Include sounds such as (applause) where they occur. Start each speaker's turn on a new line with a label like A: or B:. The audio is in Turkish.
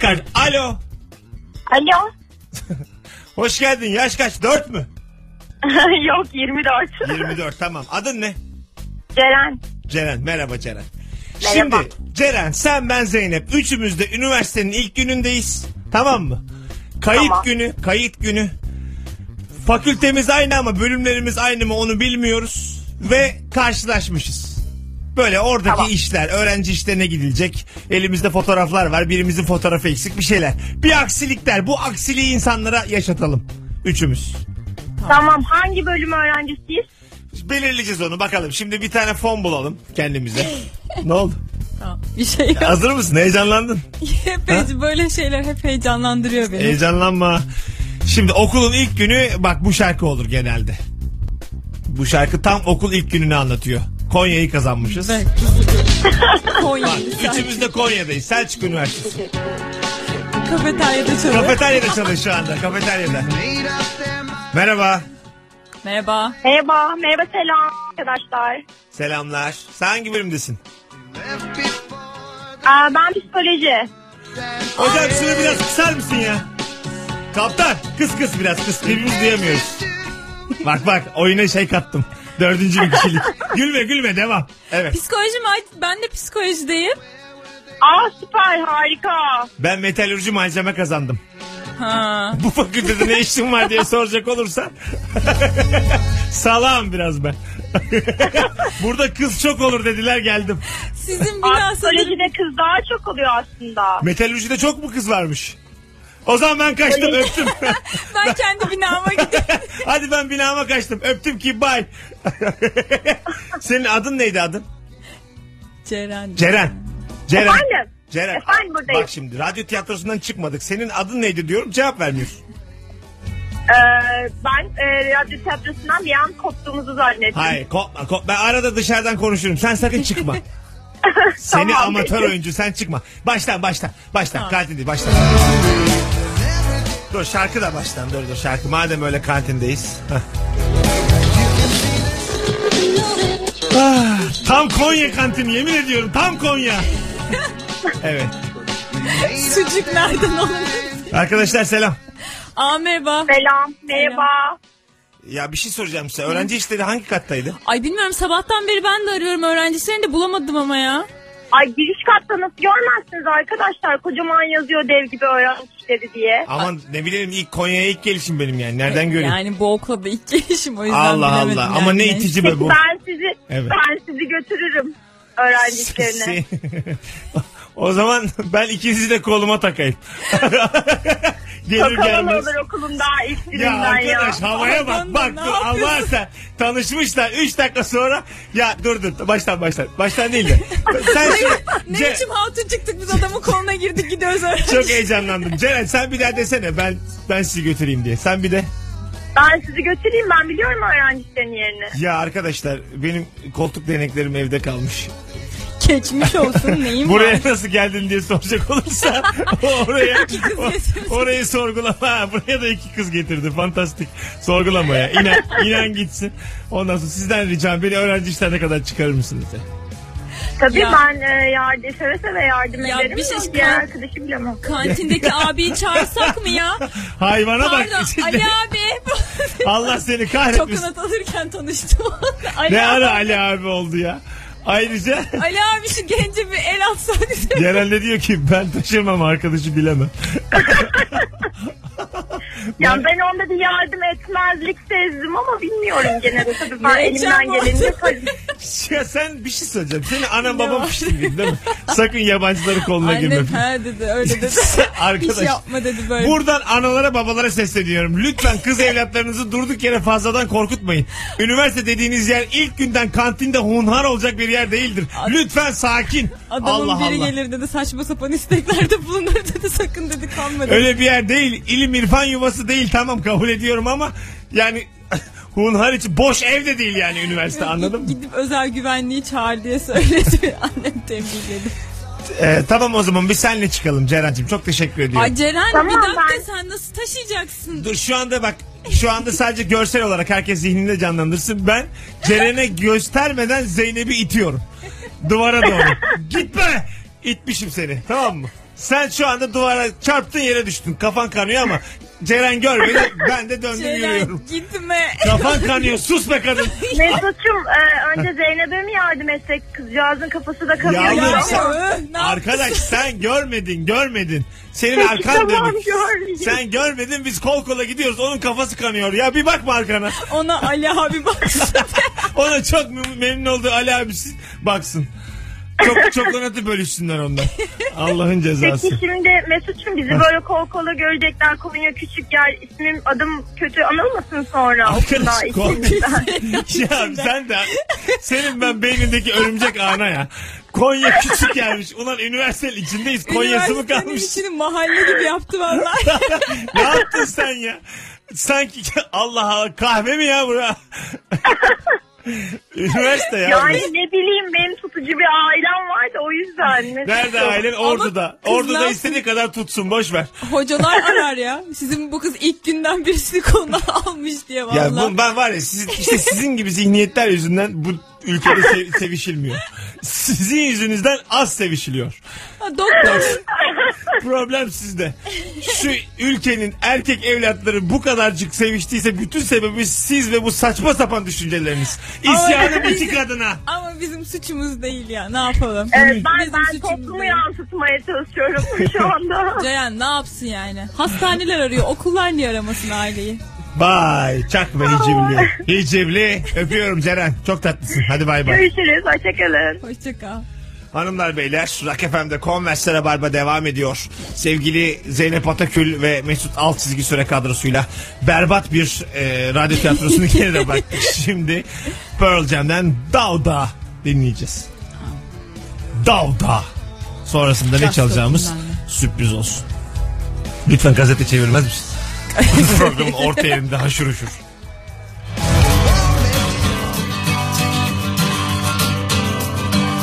A: Kar- Alo.
B: Alo. (laughs)
A: Hoş geldin. Yaş kaç? 4 mü?
B: Yok 24.
A: 24 tamam. Adın ne?
B: Ceren.
A: Ceren. Merhaba Ceren.
B: Merhaba.
A: Şimdi Ceren sen ben Zeynep üçümüz de üniversitenin ilk günündeyiz. Tamam mı? Kayıt
B: Tamam.
A: günü, kayıt günü. Fakültemiz aynı ama bölümlerimiz aynı mı onu bilmiyoruz ve karşılaşmışız. Böyle oradaki
B: Tamam.
A: işler, öğrenci işlerine gidilecek. Elimizde fotoğraflar var. Birimizin fotoğrafı eksik bir şeyler. Bir aksilikler. Bu aksiliği insanlara yaşatalım. Üçümüz.
B: Tamam hangi bölüm öğrencisiyiz?
A: Belirleyeceğiz onu bakalım. Şimdi bir tane fon bulalım kendimize. ne oldu?
C: Tamam, Bir şey yok.
A: Hazır mısın? Heyecanlandın.
C: Hep heyecan- böyle şeyler hep heyecanlandırıyor beni.
A: E- Heyecanlanma. Şimdi okulun ilk günü bak bu şarkı olur genelde. Bu şarkı tam okul ilk gününü anlatıyor. Konya'yı kazanmışız. (laughs)
C: Ve-
A: Bak,
C: Konya'yı
A: üçümüz de Konya'dayız. Selçuk Üniversitesi.
C: kafeteryada çalıyor.
A: Kafeteryada çalış şu anda. Kafeteryada. Merhaba.
C: Merhaba.
B: Merhaba. Merhaba selam arkadaşlar.
A: Selamlar. Sen hangi bölümdesin?
B: Aa, ben psikoloji.
A: Hocam şunu biraz kısar mısın ya? Kaptan kıs kıs biraz kıs. Birbirimizi duyamıyoruz. Bak bak oyuna şey kattım. Dördüncü bir kişilik. gülme gülme devam. Evet.
C: Psikoloji mi? Ay, Ben de psikolojideyim.
B: Aa süper harika.
A: Ben metalürji malzeme kazandım. (laughs)
C: Ha.
A: Bu fakültede ne işin var diye soracak olursan. (laughs) Salam biraz ben. (laughs) Burada kız çok olur dediler geldim.
C: Sizin
B: Aa,
C: bina sanırım.
B: psikolojide kız daha çok oluyor aslında.
A: Metalürjide çok mu kız varmış? O zaman ben kaçtım öptüm.
C: Ben kendi binama
A: (laughs)
C: gideyim.
A: Hadi ben binama kaçtım. Öptüm ki bay. (laughs) Senin adın neydi adın?
C: Ceren.
A: Ceren. Ceren.
B: Efendim?
A: Ceren.
B: Efendim, buradayım.
A: Bak şimdi radyo tiyatrosundan çıkmadık. Senin adın neydi diyorum cevap vermiyorsun.
B: Ee, ben e, radyo tiyatrosundan bir an koptuğumuzu zannettim.
A: Hayır kopma kopma. Ben arada dışarıdan konuşurum. Sen sakın
B: (laughs)
A: çıkma. Seni
B: Tamam,
A: amatör
B: peki.
A: oyuncu sen çıkma. Baştan baştan. Baştan. Kantinde baştan. Dur şarkı da baştan. Dur dur şarkı. Madem öyle kantindeyiz. Hah. Ah, tam Konya kantini yemin ediyorum. Tam Konya.
B: (laughs)
A: evet.
C: Sucuk nereden alınır?
A: Arkadaşlar selam.
C: Aa merhaba.
B: Selam. Merhaba.
A: Ya bir şey soracağım size. Öğrenci işleri hangi kattaydı?
C: Ay bilmiyorum sabahtan beri ben de arıyorum öğrencilerini de bulamadım ama ya.
B: Ay giriş katta nasıl görmezsiniz arkadaşlar. Kocaman yazıyor dev gibi öğrenci işleri diye.
A: Aman ne bileyim ilk Konya'ya ilk gelişim benim yani. Nereden göreyim?
C: Yani bu okla da ilk gelişim o yüzden
A: Allah
C: bilemedim
A: Allah.
C: yani.
A: Ama ne itici be
B: Peki
A: bu.
B: ben sizi
A: Evet.
B: ben sizi götürürüm öğrenci işlerine.
A: Se- Şey- (laughs) o zaman ben ikinizi de koluma takayım. (laughs) Gelir
B: Bakalım
A: gelmez.
B: olur okulun daha ilk
A: Ya
B: gününden ya.
A: arkadaş havaya bak
C: Pardon da
A: bak
C: ne
A: dur Allah
C: yapıyorsun?
A: sen tanışmışlar 3 dakika sonra ya dur dur baştan baştan baştan değil de sen
C: (laughs) Ne
A: Ce-
C: biçim hatun çıktık biz adamın koluna girdik gidiyoruz (laughs) öğrenci.
A: çok heyecanlandım Ceren sen bir daha desene ben ben sizi götüreyim diye sen bir de
B: Ben sizi götüreyim ben biliyorum öğrenci işlerinin yerini.
A: ya arkadaşlar benim koltuk deneklerim evde kalmış
C: Geçmiş olsun neyim
A: Buraya
C: var?
A: nasıl geldin diye soracak
C: (laughs)
A: olursa oraya
C: kız
A: o-
C: getirmiş.
A: orayı sorgulama. Ha, buraya da iki kız getirdi. Fantastik. Sorgulama ya. İnan,
C: (laughs)
A: inan gitsin. Ondan sonra sizden ricam beni öğrenci işlerine kadar çıkarır mısınız? De.
B: Tabii
C: Ya.
B: ben e, yardım, seve seve yardım
C: Ya
B: ederim.
C: bir şey-
B: ama diğer arkadaşım bilemem.
A: (laughs)
C: Kantindeki abiyi çağırsak mı ya?
A: Hayvana bak.
C: Pardon
A: içinde.
C: Ali abi.
A: (laughs) Allah seni
C: Çok
A: kahretmesin.
C: kanat alırken tanıştım. Ali,
A: Ne ara
C: abi.
A: Ali abi oldu ya. Ayrıca (laughs)
C: Ali abi şu gence bir el hani atsan bize.
A: Ceren de diyor ki ben taşırmam arkadaşı bilemem.
B: Ya ben onda bir yardım etmezlik sezdim ama bilmiyorum gene de. Tabii ben
C: Ne
B: elimden
C: heyecan var.
B: geleni yaparım.
A: Ya sen bir şey söyleyeceğim. Senin anan baban pişti değil mi? Sakın yabancıların koluna girme.
C: Annem he dedi
A: (laughs)
C: öyle dedi.
A: Arkadaş.
C: Hiç yapma dedi böyle.
A: Buradan analara babalara sesleniyorum. Lütfen kız evlatlarınızı durduk yere fazladan korkutmayın. Üniversite dediğiniz yer ilk günden kantinde hunhar olacak bir yer değildir. Lütfen sakin.
C: Adamın
A: Allah
C: biri
A: Allah.
C: gelir dedi saçma sapan isteklerde bulunur dedi sakın dedi kanma dedi.
A: Öyle bir yer değil. İlim irfan yuvası değil tamam kabul ediyorum ama yani (laughs) hunhar için boş ev de değil yani üniversite anladın
C: (laughs)
A: mı?
C: Gidip özel güvenliği çağır diye söyledi. (laughs) Annem tembihledi.
A: Ee, tamam o zaman biz senle çıkalım Ceren'cim çok teşekkür ediyorum.
C: Ay Ceren
B: Tamam,
C: bir dakika
B: ben-
C: sen nasıl taşıyacaksın?
A: Dur şu anda bak şu anda sadece görsel olarak herkes zihninde canlandırsın. Ben Ceren'e göstermeden Zeynep'i itiyorum. Duvara doğru. Gitme. İtmişim seni. Tamam mı? Sen şu anda duvara çarptın yere düştün. Kafan kanıyor ama Ceren görmedi. Ben de döndüm
C: Ceren
A: yürüyorum.
C: gitme.
A: Kafan kanıyor. Sus be
B: (laughs)
A: kadın.
B: Mesut'cum e, önce Zeynep'e mi yardım etsek? Kızcağızın kafası da kanıyor.
A: Yavrum,
B: Ya.
A: sen-
C: öh, Ne
A: Arkadaş sen görmedin görmedin.
B: (laughs)
A: Senin arkan
B: tamam,
A: dönük.
B: görmeyeyim.
A: Sen görmedin biz kol kola gidiyoruz. Onun kafası kanıyor. Ya bir bakma arkana.
C: Ona Ali abi baksın.
A: Ona çok mem- memnun olduğu Ali abisi baksın. Çok çok donatı bölüşsünler ondan. Allah'ın cezası.
B: Peki şimdi Mesut'cum bizi böyle kol kola görecekler. Konya küçük yer. ismim adım kötü anılmasın sonra. okulda,
A: Arkadaş (laughs) kol...
B: isimden.
A: ya sen de senin ben beynindeki örümcek ana ya. Konya küçük gelmiş. Ulan üniversitenin içindeyiz. Konya'sı mı
C: Üniversitenin
A: kalmış?
C: içini mahalle gibi yaptı vallahi.
A: (laughs) ne yaptın sen ya? Sanki (laughs) Allah Allah kahve mi ya bura? (laughs) Üniversite ya.
B: yani ne bileyim benim tutucu bir ailem var da o yüzden.
A: Nerede
B: Mesut'cum.
A: ailen? Ordu'da.
C: kızlar-
A: Ordu'da istediği kadar tutsun boş ver.
C: Hocalar arar ya. Sizin bu kız ilk günden birisini koluna (laughs) almış diye
A: Ya
C: vallahi.
A: bu- ben var ya siz, işte sizin gibi zihniyetler yüzünden bu ülkede se- sevişilmiyor. Sizin yüzünüzden az sevişiliyor.
C: Ha, doktor.
A: Problem sizde. Şu ülkenin erkek evlatları bu kadarcık seviştiyse bütün sebebi siz ve bu saçma sapan düşünceleriniz.
C: Ama-
A: İsyanım iki kadına.
C: Ama bizim suçumuz değil ya. Ne yapalım?
B: Evet, ben,
C: Bizim
B: ben
C: suçumuz
B: toplumu
C: değil.
B: yansıtmaya
A: (laughs)
B: çalışıyorum şu anda.
C: Ceren ne yapsın yani? Hastaneler arıyor. Okullar niye aramasın aileyi?
A: Vay çakma hicivli. Hicivli. Öpüyorum Ceren. Çok tatlısın. Hadi bay bay.
B: Görüşürüz. Hoşçakalın.
C: Hoşçakal.
A: Hanımlar beyler Rock FM'de Converse Rabarba devam ediyor. Sevgili Zeynep Atakül ve Mesut Alt çizgi süre kadrosuyla berbat bir e, radyo tiyatrosunu geride bıraktık. Şimdi Pearl Jam'den Davda dinleyeceğiz. Davda. Sonrasında ne
C: Şahsı
A: çalacağımız
C: oldum
A: sürpriz olsun. Lütfen gazete çevirmez misin? Programın orta yerinde haşır huşur.